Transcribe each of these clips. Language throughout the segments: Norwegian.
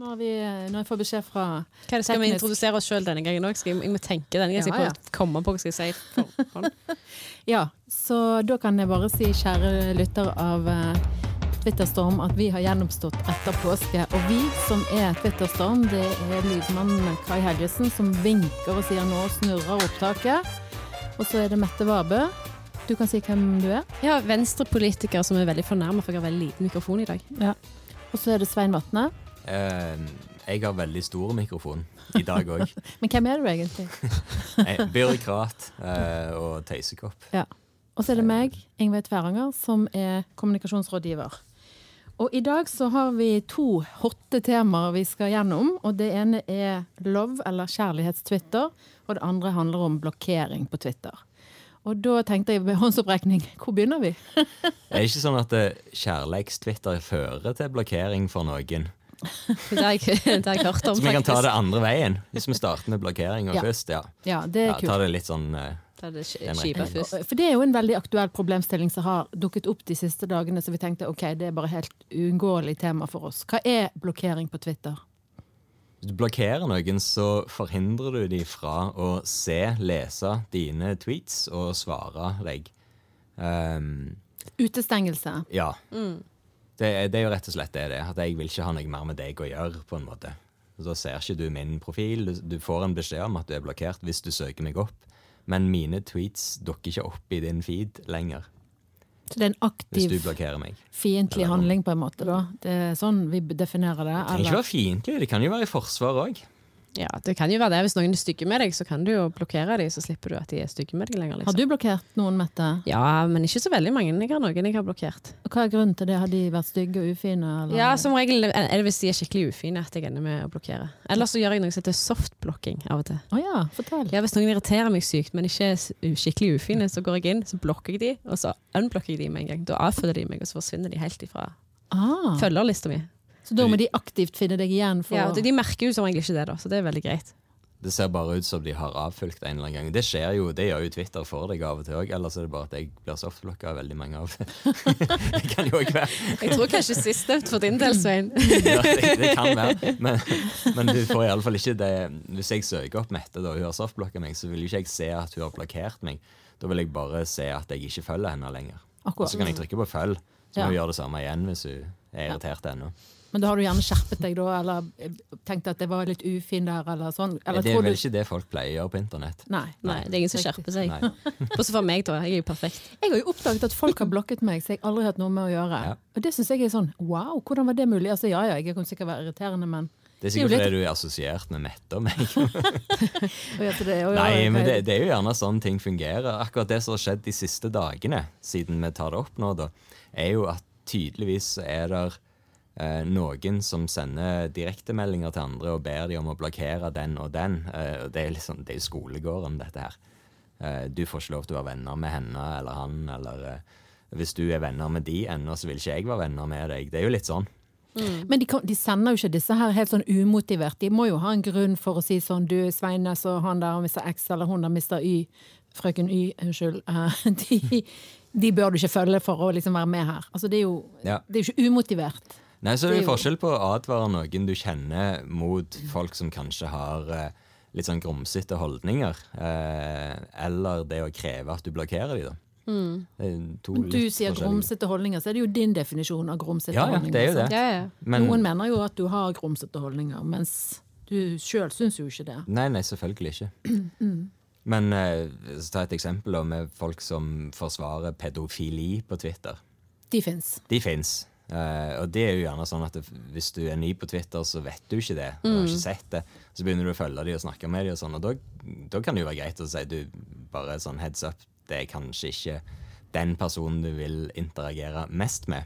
Nå har, vi, nå har jeg fått beskjed fra Hva er det, skal vi Teknisk. introdusere oss sjøl denne gangen òg? Jeg, jeg må tenke denne gangen. Ja, skal jeg prøve å komme på hva skal jeg si. For, hånd. Ja, så da kan jeg bare si, kjære lytter av eh, Twitterstorm, at vi har gjennomstått etter påske. Og vi som er Twitterstorm, det er lydmannen Kai Helgesen som vinker og sier nå snurrer opptaket. Og så er det Mette Vabø. Du kan si hvem du er. ja, Venstre-politiker som er veldig fornærma for jeg har veldig liten mikrofon i dag. Og så er det Svein Vatne. Eh, jeg har veldig stor mikrofon i dag òg. Men hvem er du egentlig? Byråkrat eh, og tøysekopp. Ja. Og Eh. så er det meg, Ingveig Tværanger, som er kommunikasjonsrådgiver. Og i dag så har vi to hotte temaer vi skal gjennom. Og det ene er love, eller kjærlighetstwitter. Og det andre handler om blokkering på Twitter. Og da tenkte jeg ved håndsopprekning, hvor begynner vi? Det er ikke sånn at eh, kjærlighetstwitter fører til blokkering for noen. Det har jeg, det har jeg hørt om, Så vi kan ta det andre veien, hvis vi starter med blokkeringa Ja. først. Ja. Ja, det er Ja, ta kult. det litt sånn eh, Ta det Den sk- skipet først. For det er jo en veldig aktuell problemstilling som har dukket opp de siste dagene, så vi tenkte ok, det er bare helt uunngåelig tema for oss. Hva er blokkering på Twitter? Hvis du blokkerer noen, så forhindrer du dem fra å se, lese dine tweets og svare deg. Ehm, Utestengelse. ja. Det, er- det er jo rett og slett det det er. At jeg vil ikke ha noe mer med deg å gjøre. på en måte. Da ser ikke du min profil. Du, du får en beskjed om at du er blokkert hvis du søker meg opp. Men mine tweets dukker ikke opp i din feed lenger Så det er en hvis aktiv du blokkerer meg. fiendtlig Eller- handling, på en måte. da. Det er sånn vi definerer det. Det trenger ikke Eller, være fiendtlig. Det kan jo være i forsvar òg. Ja, det kan jo være det. Hvis noen er stygge med deg, så kan du jo blokkere dem, så slipper du at de er stygge med deg har lenger. Liksom. du blokkert noen, Mette? Ja, men ikke så veldig mange. Jeg har noen jeg har blokkert. Og Hva er grunnen til det? Har de vært stygge og ufine? Eller? Ja, altså- Som regel er det hvis de er skikkelig ufine at jeg ender med å blokkere. Eller så gjør jeg noe som heter softblocking av og til. Å ja, fortell. Ja, Hvis noen irriterer meg sykt, men ikke er s- skikkelig ufine, så går jeg inn, så blokker jeg de, og så unblokker jeg de med en gang. Da avfølger de meg, og så forsvinner de helt ifra Ah, følgerlista mi. så da må de aktivt finne deg igjen for Ja, og de- de merker jo som regel ikke det, da, så det er veldig greit. Det ser bare ut som de har avfulgt en eller annen gang. Det skjer jo, det gjør jo Twitter for deg av og til òg. Ellers er det bare at jeg blir softblokka av veldig mange av. det kan jo òg være. Jeg tror kanskje sistnevnt for din del, Svein. Ja, det, det kan være. Men, men du får iallfall ikke det Hvis jeg søker opp Mette da hun har softblokka meg, så vil jo ikke jeg se at hun har blokkert meg. Da vil jeg bare se at jeg ikke følger henne lenger. Og Akkurat. så kan jeg trykke på følg. Så Ja. må hun gjøre det samme igjen hvis hun er irritert ennå. Men da har du gjerne skjerpet deg, da? Eller eh, tenkt at det var litt ufin der, eller sånn? Eller Det tror er vel du ikke det folk pleier å gjøre på internett. Nei. Nei, det er ingen som Riktig. skjerper seg. Nei. Bortsett fra meg, da. Jeg er jo perfekt. Jeg har jo oppdaget at folk har blokket meg, så jeg har aldri hatt noe med å gjøre. Ja. Og det syns jeg er sånn wow, hvordan var det mulig? Altså ja ja, jeg kan sikkert være irriterende, men Det er jo sikkert litt- fordi du er assosiert med Mette og meg. Å, ja, så det- å, ja, Nei, ok. men det, det er jo gjerne sånn ting fungerer. Akkurat det som har skjedd de siste dagene, siden vi tar det opp nå, da, er jo at tydeligvis så er det eh, noen som sender direktemeldinger til andre og ber de om å blokkere den og den. Eh, og det er liksom, det er jo skolegården, dette her. Eh, du får ikke lov til å være venner med henne eller han, eller eh, hvis du er venner med de ennå, så vil ikke jeg være venner med deg. Det er jo litt sånn. Men de, kan, de sender jo ikke disse her helt sånn umotivert. De må jo ha en grunn for å si sånn Du, Sveines og han der mister X, eller hun der mister Y. Frøken Y, unnskyld. Eh, De, de bør du ikke følge for å liksom være med her. Altså, det er jo, Ja. det er jo ikke umotivert. Nei, så Det er det er jo jo- forskjell på å advare noen du kjenner, mot folk som kanskje har eh, litt sånn grumsete holdninger. Eh, eller det å kreve at du blokkerer dem, da. Det er to Du litt sier forskjellige- grumsete holdninger, så er det jo din definisjon av grumsete Ja, ja, holdninger. det er jo sant? det. Ja, ja. Men, Noen mener jo at du har grumsete holdninger, mens du sjøl syns jo ikke det. Nei, nei, selvfølgelig ikke. Men eh, så ta et eksempel da, med folk som forsvarer pedofili på Twitter. De fins. De fins. Eh, og det er jo gjerne sånn at det, hvis du er ny på Twitter, så vet du ikke det. Du har ikke sett det. Så begynner du å følge de og snakke med de og sånn, og da, da kan det jo være greit å si du bare sånn heads up, det er kanskje ikke den personen du vil interagere mest med.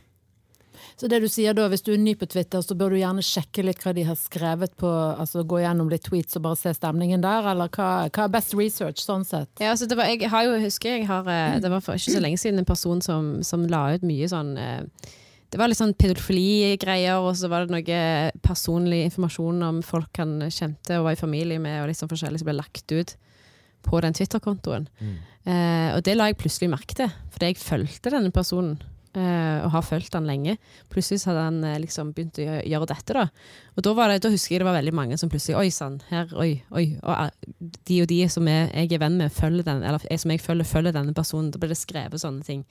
Så det du sier da, hvis du er ny på Twitter, så bør du gjerne sjekke litt hva de har skrevet på, altså gå gjennom litt tweets og bare se stemningen der, eller hva, hva er best research sånn sett? Ja, altså det var, jeg har jo, husker jeg har, eh, det var for ikke så lenge siden en person som, som la ut mye sånn eh, Det var litt sånn pedofili-greier, og så var det noe personlig informasjon om folk han kjente og var i familie med, og litt sånn forskjellig som ble lagt ut på den Twitter-kontoen. Eh, og det la jeg plutselig merke til, fordi jeg fulgte denne personen. eh, og har fulgt han lenge. Plutselig så hadde han eh, liksom begynt å gjø- gjøre dette. Da Og da, var det, da husker jeg det var veldig mange som plutselig Oi sann, her, oi, oi. Og eh, de og de som jeg, jeg er venn med, følger den, eller jeg, som jeg følger, følger denne personen. Da ble det skrevet sånne ting.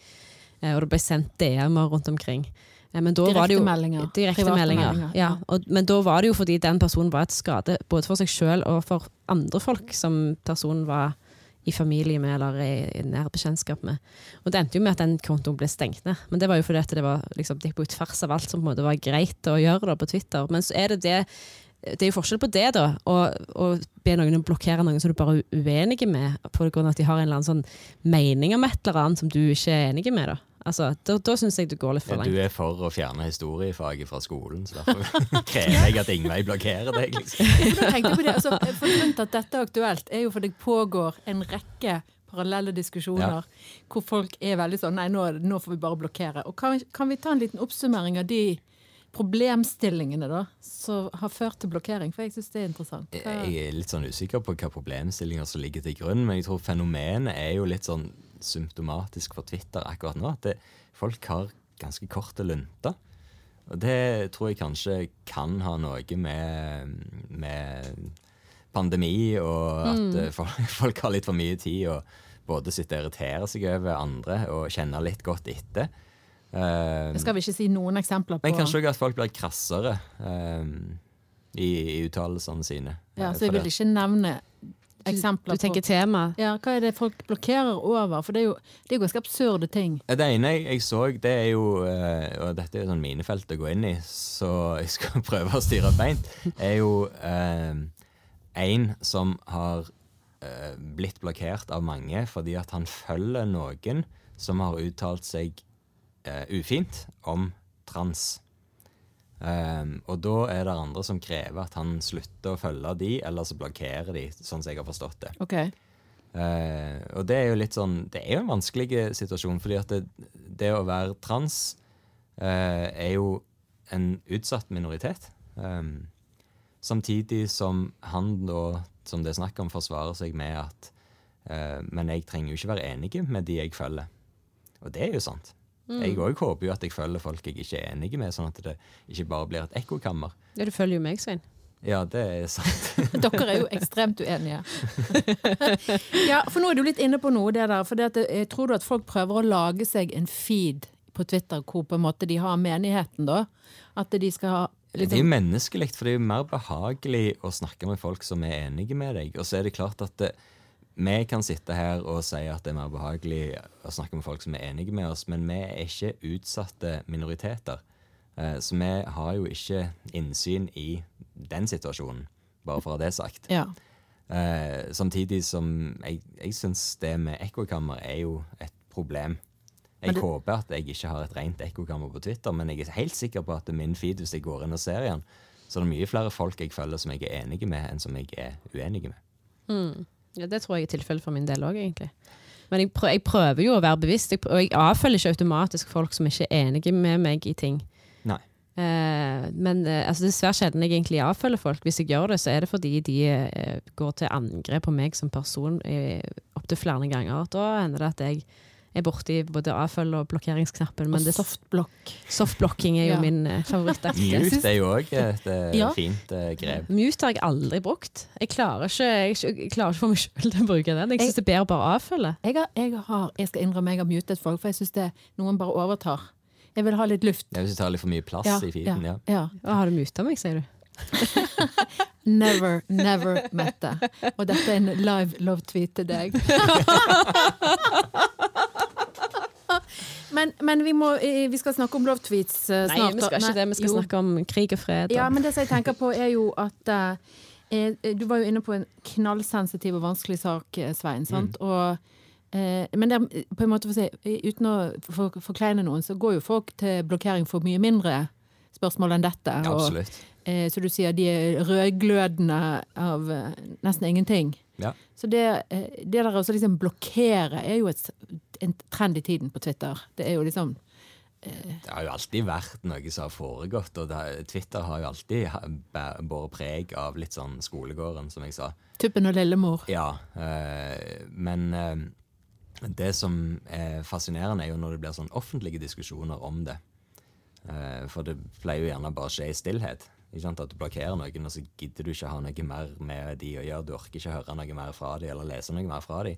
Eh, og det ble sendt DM-er rundt omkring. Eh, men da var det jo, Direktemeldinger. Direkte Private meldinger. meldinger, Ja. Og, men da var det jo fordi den personen var et skade både for seg sjøl og for andre folk som personen var i familie med eller i, i nær bekjentskap med. Og det endte jo med at den kontoen ble stengt ned. Men det var jo fordi at det, var, liksom, det gikk på tvers av alt som på en måte var greit å gjøre da, på Twitter. Men så er det det det er jo forskjell på det, da. Å å be noen å blokkere noen som du bare er uenig med, på grunn av at de har en eller annen sånn mening om et eller annet som du ikke er enig med. Da Altså, da, da syns jeg det går litt for langt. Du er for å fjerne historiefaget fra skolen, så derfor krever jeg at Ingveig blokkerer deg. Liksom. Jeg tenkte på det, altså, for grunnen til at dette er aktuelt, er jo fordi det pågår en rekke parallelle diskusjoner Ja. hvor folk er veldig sånn Nei, nå, nå får vi bare blokkere. Og kan, kan vi ta en liten oppsummering av de problemstillingene da, som har ført til blokkering? For jeg syns det er interessant. Jeg Hva- jeg er litt sånn usikker på hva problemstillinger som ligger til grunn, men jeg tror fenomenet er jo litt sånn symptomatisk for Twitter akkurat nå. At det, folk har ganske korte lunter. Og det tror jeg kanskje kan ha noe med, med pandemi og Mm. at eh, folk, folk har litt for mye tid og både sitte og irritere seg over andre og kjenne litt godt etter. Eh, Jeg skal vi ikke si noen eksempler på men kanskje òg at folk blir krassere eh, i, i uttalelsene sine. Ja, Eh, så jeg for vil ikke nevne eksempler Du tenker på tema. ja, Hva er det folk blokkerer over? For det er jo, det er jo ganske absurde ting. Ja, Eh, Det ene jeg, jeg så, det er jo eh, Og dette er jo sånn minefelt å gå inn i, så jeg skal prøve å styre beint. Er jo eh, en som har eh, blitt blokkert av mange fordi at han følger noen som har uttalt seg eh, ufint om trans. Ehm, og da er det andre som krever at han slutter å følge de, eller så blokkerer de, sånn som jeg har forstått det. Ok. Eh, og det er jo litt sånn Det er jo en vanskelig eh, situasjon, fordi at det, det å være trans eh, er jo en utsatt minoritet. Ehm, samtidig som han da, som det er snakk om, forsvarer seg med at eh, Men jeg trenger jo ikke være enig med de jeg følger. Og det er jo sant. Jeg òg håper jo at jeg følger folk jeg ikke er enig med, sånn at det ikke bare blir et ekkokammer. Ja, du følger jo meg, Svein. Ja, det er sant. Dere er jo ekstremt uenige. ja, for nå er du litt inne på noe, det der. For det at jeg tror du at folk prøver å lage seg en feed på Twitter hvor på en måte de har menigheten, da? At de skal ha Det er liksom, jo menneskelig, for det er jo mer behagelig å snakke med folk som er enige med deg. Og så er det klart at det, vi kan sitte her og si at det er mer behagelig å snakke med folk som er enige med oss, men vi er ikke utsatte minoriteter. Eh, Så vi har jo ikke innsyn i den situasjonen, bare for å ha det sagt. ja. Eh, samtidig som jeg, jeg syns det med ekkokammer er jo et problem. Jeg håper at jeg ikke har et rent ekkokammer på Twitter, men jeg er helt sikker på at min feed, hvis jeg går inn og ser igjen, så er det mye flere folk jeg følger som jeg er enig med, enn som jeg er uenig med. Ja, Det tror jeg er tilfellet for min del òg, egentlig. Men jeg prøver, jeg prøver jo å være bevisst, jeg prø- og jeg avfølger ikke automatisk folk som ikke er enige med meg i ting. Nei. Eh, men eh, altså, det er svært sjelden jeg egentlig avfølger folk. Hvis jeg gjør det, så er det fordi de eh, går til angrep på meg som person eh, opptil flere ganger. Da hender det at jeg er borti både avfølge- og blokkeringsknappen. Men Og det- softblock. softblocking er jo Ja. min eh, favorittaktivitet. Mute er jo òg et eh, Ja. fint eh, grep. Mute har jeg aldri brukt. Jeg klarer ikke, jeg, jeg klarer ikke for meg sjøl til å bruke den. Jeg syns det er bedre å bare avfølge. Jeg, har, jeg, har, jeg skal innrømme jeg har mutet folk, for jeg syns noen bare overtar. Jeg vil ha litt luft. Ja, Hvis du tar litt for mye plass i feeden. Ja. ja. Å, har du muta meg, sier du? Never, never Mette. Og dette er en live love tweet til deg. men men vi, må, eh, vi skal snakke om love tweets eh, Nei, snart. vi skal da. ikke det. Vi skal jo. snakke om krig og fred. og- Ja, men det som jeg tenker på er jo at eh, eh, Du var jo inne på en knallsensitiv og vanskelig sak, eh, Mm. Svein. sant? Og, eh, men det er på en måte for å si, eh, uten å for- forkleine noen, så går jo folk til blokkering for mye mindre spørsmål enn dette. Ja, absolutt. Og, eh, så du sier de er rødglødende av eh, nesten ingenting. Ja. Så det, eh, det der å så liksom blokkere er jo et, s- en trend i tiden på Twitter. Det er jo liksom Det har jo alltid vært noe som har foregått, og det, Twitter har jo alltid ha- bæ- båret preg av litt sånn skolegården, som jeg sa. Tuppen og Lillemor. Ja, eh, men eh, det som er fascinerende, er jo når det blir sånn offentlige diskusjoner om det. Eh, for det pleier jo gjerne bare å skje i stillhet. Ikke sant? At du blokkerer noen, og så gidder du ikke ha noe mer med de å gjøre. Du orker ikke høre noe mer fra de, eller lese noe mer fra de.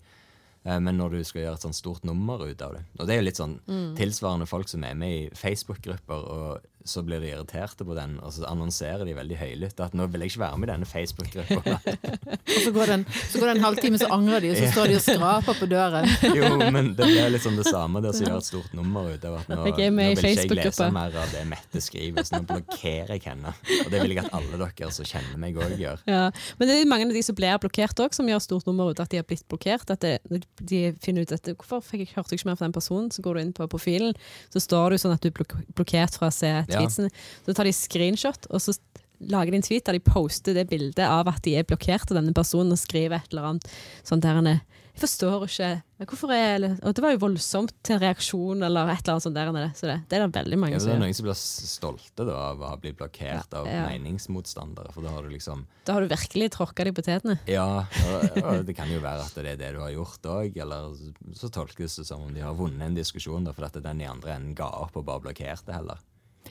Eh, Men når du skal gjøre et sånn stort nummer ut av det Og det er jo litt sånn tilsvarende folk som er med i Facebook-grupper, og så blir de irriterte på den, og så annonserer de veldig høylytt at 'nå vil jeg ikke være med i denne Facebook-gruppa'. Og så går, det en, så går det en halvtime, så angrer de, og så står de og skraper på døren. Jo, men det blir liksom det samme det å gjøre et stort nummer ut av at nå, nå Jeg er vil med i ikke jeg lese Facebook-gruppa. mer av det Mette skriver, så nå blokkerer jeg henne. Og det vil jeg at alle dere som kjenner meg òg gjør. Ja. Men det er mange av de som blir blokkert òg, som gjør stort nummer ut av at de har blitt blokkert. At det, de finner ut at hvorfor fikk jeg, hørte jeg ikke mer fra den personen, så går du inn på profilen, så står det jo sånn at du er blok blokkert fra å se tweetsene. Så tar de screenshot, og så lager de en tweet der de poster det bildet av at de er blokkert av denne personen, og skriver et eller annet sånt der han er jeg forstår ikke Hvorfor er eller, Og det var jo voldsomt til en reaksjon, eller et eller annet sånt der. han er. Så det, det er det veldig mange Ja, som det er gjør. noen som blir stolte da, av å ha blitt blokkert av Ja. meningsmotstandere, for da har du liksom Da har du virkelig tråkka de på tetene. Ja, og, og det kan jo være at det er det du har gjort òg, eller så tolkes det som om de har vunnet en diskusjon da, fordi at den i andre enden ga opp og bare blokkerte heller.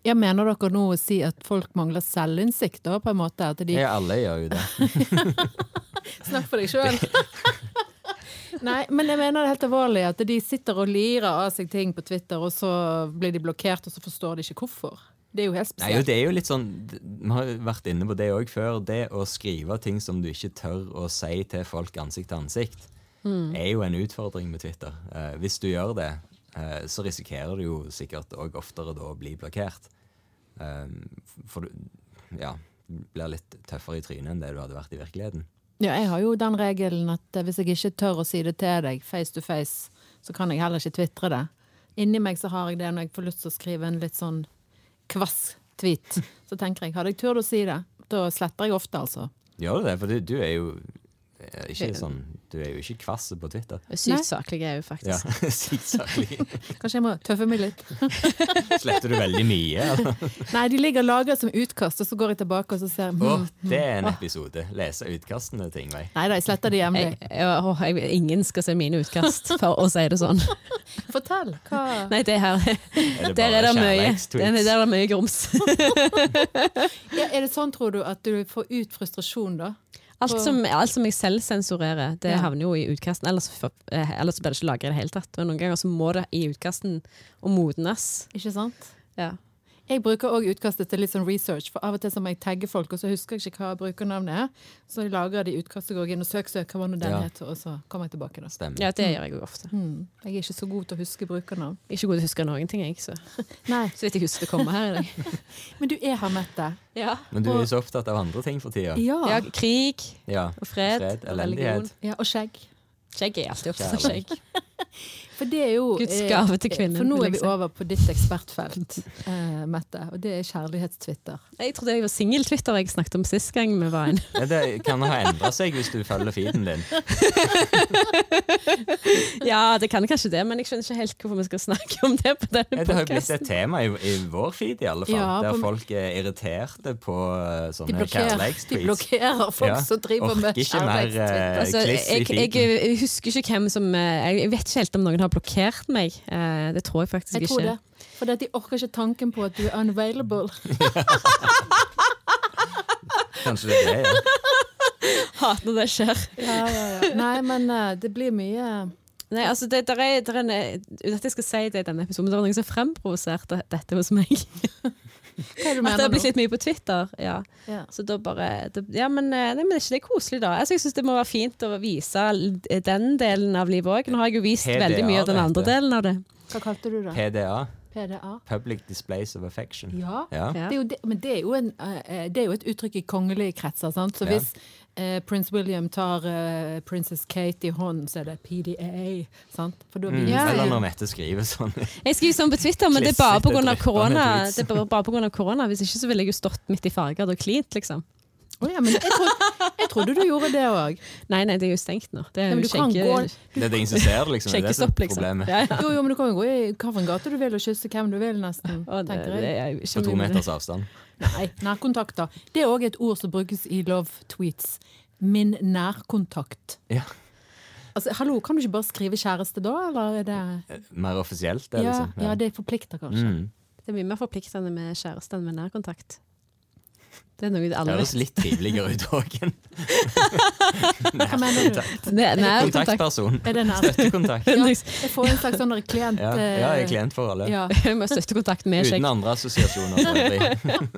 Ja, mener dere nå å si at folk mangler selvinnsikt, da, på en måte? At de Ja, alle gjør jo det. Snakk for deg sjøl! Nei, men jeg mener det helt alvorlig. At de sitter og lirer av seg ting på Twitter, og så blir de blokkert, og så forstår de ikke hvorfor. Det er jo helt Nei, jo, spesielt. det er jo litt sånn d- Vi har vært inne på det òg før. Det å skrive ting som du ikke tør å si til folk ansikt til ansikt, er jo en utfordring med Twitter. Eh, hvis du gjør det, eh, så risikerer du jo sikkert òg oftere da å bli blokkert. Eh, for du ja, blir litt tøffere i trynet enn det du hadde vært i virkeligheten. Ja, jeg har jo den regelen at eh, hvis jeg ikke tør å si det til deg face to face, så kan jeg heller ikke tvitre det. Inni meg så har jeg det når jeg får lyst til å skrive en litt sånn kvass tweet. Så tenker jeg, hadde jeg turt å si det, da sletter jeg ofte, altså. Gjør du det? For du, du er jo eh, ikke sånn Du er jo ikke kvass på Twitter. Nei. Sykt saklig er jeg jo Ja, faktisk. Sykt saklig. Kanskje jeg må tøffe meg litt. Sletter du veldig mye? altså? Eller? Nei, de ligger lagret som utkast, og så går jeg tilbake og så ser Å, hmm. det er en episode. Lese utkastene til Ingveig. Nei da, jeg sletter de hjemme. Jeg, jeg, åh, jeg, ingen skal se mine utkast, for å si det sånn. Fortell! Hva? Nei, det her Er det Der er det mye. Der er kjærlighetstweets? det mye grums. Ja, er det sånn, tror du, at du får ut frustrasjon, da? Alt som, alt som jeg selv sensurerer, det Ja. havner jo i utkasten. Ellers, for, eh, ellers blir det ikke lagret i det hele tatt. Og noen ganger så må det i utkasten og modnes. Ikke sant? Ja. Jeg bruker òg utkastet til litt sånn research, for av og til så må jeg tagge folk, og så husker jeg ikke hva brukernavnet er. Så jeg lagrer de utkastet, går jeg inn og søker, søker hva nå den Ja. heter, og så kommer jeg tilbake, da. Stemmer. ja, det gjør jeg jo ofte. Hmm. Jeg er ikke så god til å huske brukernavn. Jeg er ikke god til å huske noen ting, jeg. Så, Nei, så vidt jeg husker å komme her i dag. Men du er her, Mette. Ja. Men du er jo så opptatt av andre ting for tida. Ja. krig Ja. og fred, Fred, og religion. elendighet. ja og skjegg. Skjegg er alltid opptatt av skjegg. For det er jo Guds eh, gave til kvinnen, For nå vil jeg er vi si. over på ditt ekspertfelt, eh, Mette, og det er kjærlighetstwitter. Jeg trodde jeg var singel-Twitter jeg snakket om sist gang vi var en. Ja, Det kan ha endra seg hvis du følger feeden din. Ja, det kan kanskje det, men jeg skjønner ikke helt hvorfor vi skal snakke om det på Ja, denne Det har jo blitt et podkasten. tema i, i vår feed, i alle fall. Ja, der på- folk er irriterte på eh, De sånne blokkerer, de kjærlighetstweets. blokkerer folk Ja, som driver med orker ikke mer, eh, kjærlighetstwitter. Altså, kliss i jeg, jeg, feeden. jeg husker ikke hvem som eh, Jeg jeg vet ikke helt om noen har blokkert meg. Eh, Det tror jeg faktisk Jeg tror ikke. det. For de orker ikke tanken på at du er unavailable. Kanskje det er det. ja. Hater når det skjer. Nei, men eh, det blir mye Nei, altså det, der er, der er en, uten at jeg skal si det i denne episoden, men det er noen som fremprovoserte dette hos meg. Hva er det du At det mener har blitt nå? litt mye på Twitter. Ja. Ja. Så da bare det, Ja, men, eh, nei, men det er ikke det koselig, da? Altså, jeg syns det må være fint å vise l- den delen av livet òg. Nå har jeg jo vist PDA, veldig mye av den det andre heter. delen av det. Hva kalte du det? PDA. PDA? Public Displays of Affection. Ja. Ja. Det er jo det, men det er, jo en, eh, det er jo et uttrykk i kongelige kretser. Sant? Så Ja. hvis eh, prins William tar eh, prinsesse Kate i hånden, så er det PDA. Sant? For da viser Mm. Ja, Eller jo- når Mette skriver sånn. Jeg skriver sånn på Twitter, men det er bare Klissete pga. dritt av en korona. tweet. Det er bare, bare på grunn av korona. Hvis ikke så ville jeg jo stått midt i farger og klint, liksom. Å ja, men jeg, trodde, jeg trodde du gjorde det òg. Nei, nei, det er jo stengt nå. Det er Men jo du kan skjenke, gå- Det er det ingen som ser det, liksom. Det er det som er skjenkestopp, liksom. problemet. Ja, ja. Jo, jo, men du kan jo gå i hvilken gate du vil og kysse hvem du vil, nesten. Og det, tenker det, jeg. jeg På to skjønner- meters avstand. Nei, nærkontakter. Det er òg et ord som brukes i love tweets. Min nærkontakt. Ja. Altså, hallo, kan du ikke bare skrive kjæreste da, eller er det Mer offisielt, det, Ja, liksom. Mm. ja det forplikter kanskje. Det er mye mer forpliktende med kjæreste enn med nærkontakt. Det er noe det Det alle høres litt triveligere ut òg. Hva mener du? Nær- Nærkontakt. Kontaktperson. Er det nærkontakt? Støttekontakt. Ja, jeg får en slags sånn der klient... Ja, ja eh, jeg er klient for alle. ja. Jeg må støttekontakt med Uten skjegg. andre assosiasjoner. for øvrig.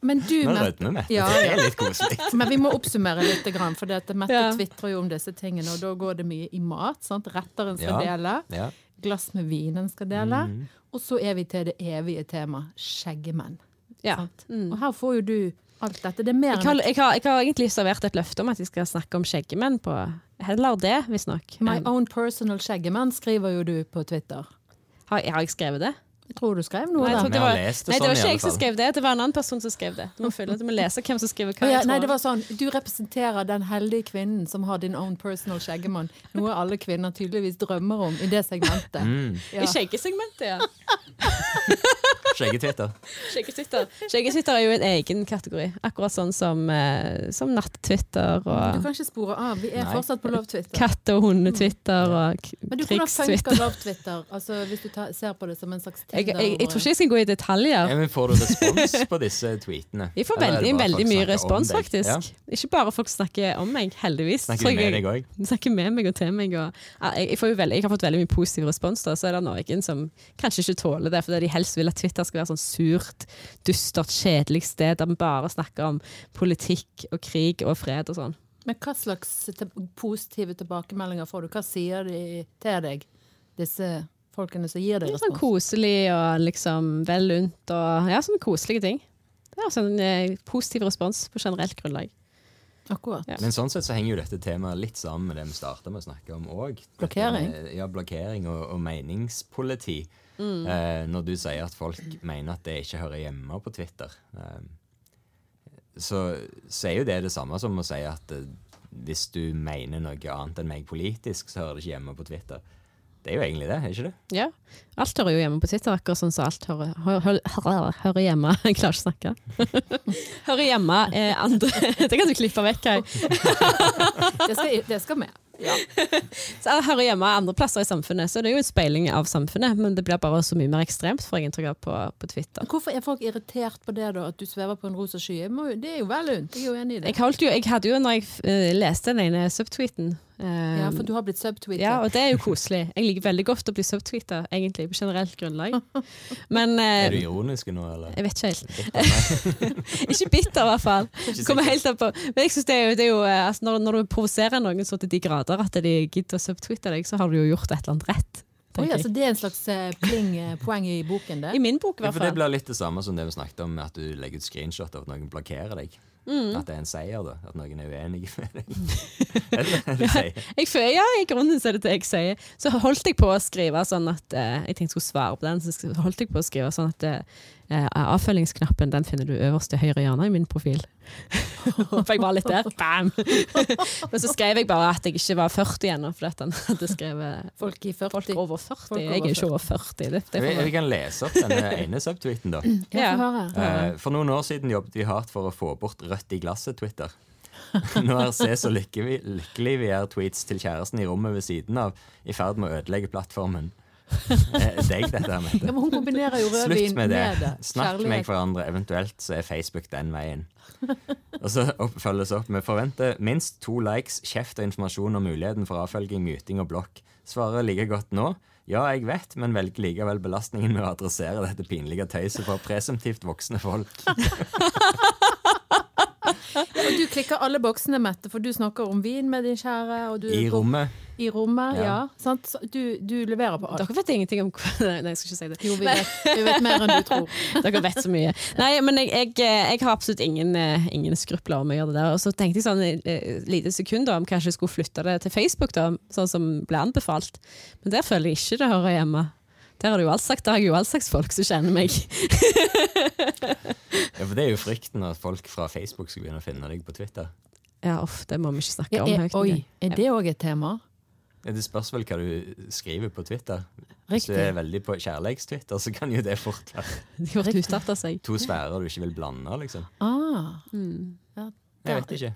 Men du, Nå Mette, rødmer vi. Ja, Det ja. er litt koselig. men vi må oppsummere litt, grann, for det at Mette Ja. tvitrer jo om disse tingene, og da går det mye i mat. sant? Retter en skal Ja. dele, Ja. Mm. glass med vin en skal dele, og så er vi til det evige tema, skjeggemenn. Ja. Sant? Og her får jo du alt dette. Det er mer Jeg enn har, jeg, har, jeg har egentlig servert et løfte om at vi skal snakke om skjeggemenn på Heller det, visstnok. My Um, own personal skjeggemann skriver jo du på Twitter. Har, har jeg skrevet det? Jeg tror du skrev noe Nei, jeg da. tror Vi det har var, lest det nei, det var ikke sånn i alle jeg som fall. skrev det, det var en annen person som skrev det. Du må, følge, du må lese hvem som skriver hva. Å ja, jeg nei, det tror. var sånn, Du representerer den heldige kvinnen som har din own personal skjeggemann. Noe alle kvinner tydeligvis drømmer om i det segmentet. Ja. I skjeggesegmentet, ja. Skjeggetwitter. Skjeggetwitter. Skjeggetwitter er jo en egen kategori. Akkurat sånn som, eh, som natt-Twitter Du og kan ikke spore av. Vi er Nei. fortsatt på Love-Twitter. katte- og hunde-Twitter og k- Men du, hvordan krigs-Twitter. funker Love-Twitter? Altså, hvis du tar, ser på det som en slags Jeg, Tinder? jeg, jeg og- tror ikke jeg skal gå i detaljer. Ja, men får du respons på disse tweetene? Vi får Eller er det veldig, bare veldig folk mye snakker om respons, deg? faktisk. Ja. Ikke bare folk snakker om meg, heldigvis. Snakker Så de med jeg- deg òg? De snakker med meg og til meg. Og, ja, jeg, jeg, får jo veldig, jeg har fått veldig mye positiv respons, da, så er det noen som kanskje ikke tåler det, fordi de helst vil at Twitter skal være sånn surt, dystert, kjedelig sted der vi bare snakker om politikk og krig og fred og sånn. Men hva slags te- positive tilbakemeldinger får du? Hva sier de til deg, disse folkene som gir deg Det er Sånn respons? koselig og liksom vel unt og ja, sånne koselige ting. Det er altså en eh, positiv respons på generelt grunnlag. Akkurat. Ja. Men sånn sett så henger jo dette temaet litt sammen med det vi starta med å snakke om òg. Blokkering? Ja, blokkering og, og meningspoliti. Eh, når du sier at folk mener at det ikke hører hjemme på Twitter, eh, så, så er jo det det samme som å si at eh, hvis du mener noe annet enn meg politisk, så hører det ikke hjemme på Twitter. Det er jo egentlig det, er ikke det? Ja. Alt hører jo hjemme på Twitter, akkurat sånn som alt hører, hører, hører, hører hjemme Jeg klarer ikke å snakke. Hører hjemme eh, andre Det kan du klippe vekk. Kai. Det skal, det skal med. Så jeg hører hjemme andre plasser i samfunnet, så det er jo en speiling av samfunnet. Men det blir bare så mye mer ekstremt, får jeg inntrykk av, på, på Twitter. Hvorfor er folk irritert på det, da? At du svever på en rosa sky? Jeg må, jo- det er jo vel lunt. Jeg er jo enig i det. Jeg, holdt jo, jeg hadde jo, når jeg eh, leste den ene subtweeten eh, Ja, for du har blitt subtweetet. Ja, og det er jo koselig. Jeg liker veldig godt å bli subtweeta, egentlig, på generelt grunnlag. Men eh, Er du ironisk nå, eller? Jeg vet ikke helt. ikke bitter, i hvert fall. Kommer helt an på. Men jeg synes det er jo, det er jo eh, altså når, når du provoserer noen så til de grader at de gidder å subtweete deg, så har du jo gjort et eller annet rett. Å ja, tenker så jeg. det er en slags eh, pling eh, poeng i boken, det? I min bok, i Ja, hvert for det fall. blir litt det samme som det vi snakket om, at du legger ut screenshot av at noen blokkerer deg. Mm. At det er en seier, da. At noen er uenige med deg. Eller hva du sier. Jeg føler, ja, i grunnen så er det det jeg sier. Så holdt jeg på å skrive sånn at eh, Jeg tenkte jeg skulle svare på den, så sk- holdt jeg på å skrive sånn at eh, avfølgingsknappen den finner du øverst i høyre hjørne i min profil. For jeg var litt der. Bam! Men så skrev jeg bare at jeg ikke var 40 ennå, fordi at han hadde skrevet Folk i 40. folk over 40. Folk over jeg er ikke over 40. Det, det Vi, får vi være- kan lese opp denne ene subtweeten, da. Ja, Ja. få høre. Eh, for noen år siden jobbet vi hardt for å få bort rødt i glasset Twitter. Nå er se så lykke vi, lykkelig vi er tweets til kjæresten i rommet ved siden av, i ferd med å ødelegge plattformen. Eh, Deg dette her, Ja, Mette. men hun kombinerer jo rødvin Slutt med det. Snakk med Kjærlighet. hverandre, eventuelt så er Facebook den veien. Og så opp, følges opp med forvente minst to likes, kjeft og informasjon om muligheten for avfølging, muting og blokk. Svarer like godt nå. Ja, jeg vet, men velger likevel belastningen med å adressere dette pinlige tøyset for presumptivt voksne folk. Og du klikker alle boksene, Mette, for du snakker om vin med din kjære. Og du I rommet. I rommet, ja. Ja. sant? Så Du, du leverer på alt. Dere vet ingenting om hva- Nei, jeg skal ikke si det. Jo, vi vet, vi vet mer enn du tror. Dere vet så mye. Nei, men jeg, jeg, jeg har absolutt ingen, eh, ingen skrupler om å gjøre det der. Og så tenkte jeg sånn et lite sekund da, om kanskje jeg skulle flytte det til Facebook, da, sånn som ble anbefalt. Men der føler jeg ikke det hører hjemme. Der har, du jo alt sagt, der har jeg jo all slags folk som kjenner meg. Ja, for Det er jo frykten at folk fra Facebook skal begynne å finne deg på Twitter. Ja, uff, det må vi ikke snakke Ja, om er, høyt. oi, engang. er det òg et tema? Ja, Det spørs vel hva du skriver på Twitter. Hvis du Riktig. er veldig på kjærlighetstwitter, så kan jo det fort være De har utarta seg. to sfærer du ikke vil blande. liksom. Ah, Jeg vet ikke.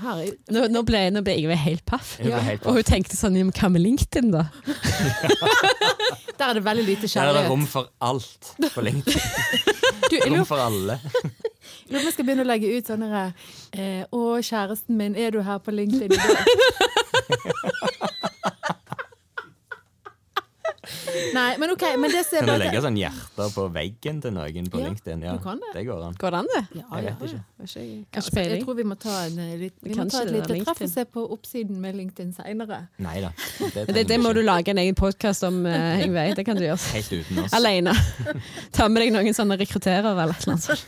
her er Nå, nå ble, nå ble Ingvild helt paff. Jeg ble helt Og hun tenkte sånn "Ja, men Hva med LinkedIn, da? Der er det veldig lite Der er det kjærlighet. rom for alt på LinkedIn. Du, jeg Rom lurer for alle. jeg lurer på om jeg skal begynne å legge ut sånne der, eh, Å, kjæresten min, er du her på LinkedIn i dag? Nei, men OK. Men det som er Kan du bare legge sånn hjerter på veggen til noen på Ja, LinkedIn? Ja, du kan det. det går an. Går det an, det? Ja, ja, Jeg vet ikke. Kanskje Altså, jeg peiling. tror vi må ta, en, eh, litt, vi må Kanskje ta et det er lite treff og LinkedIn. se på oppsiden med LinkedIn seinere. Nei da. Men Det, det må du lage en egen podkast om, eh, Ingvild. Det kan du gjøre. Helt uten oss. Alene. Ta med deg noen sånne rekrutterere eller et eller annet. sånt.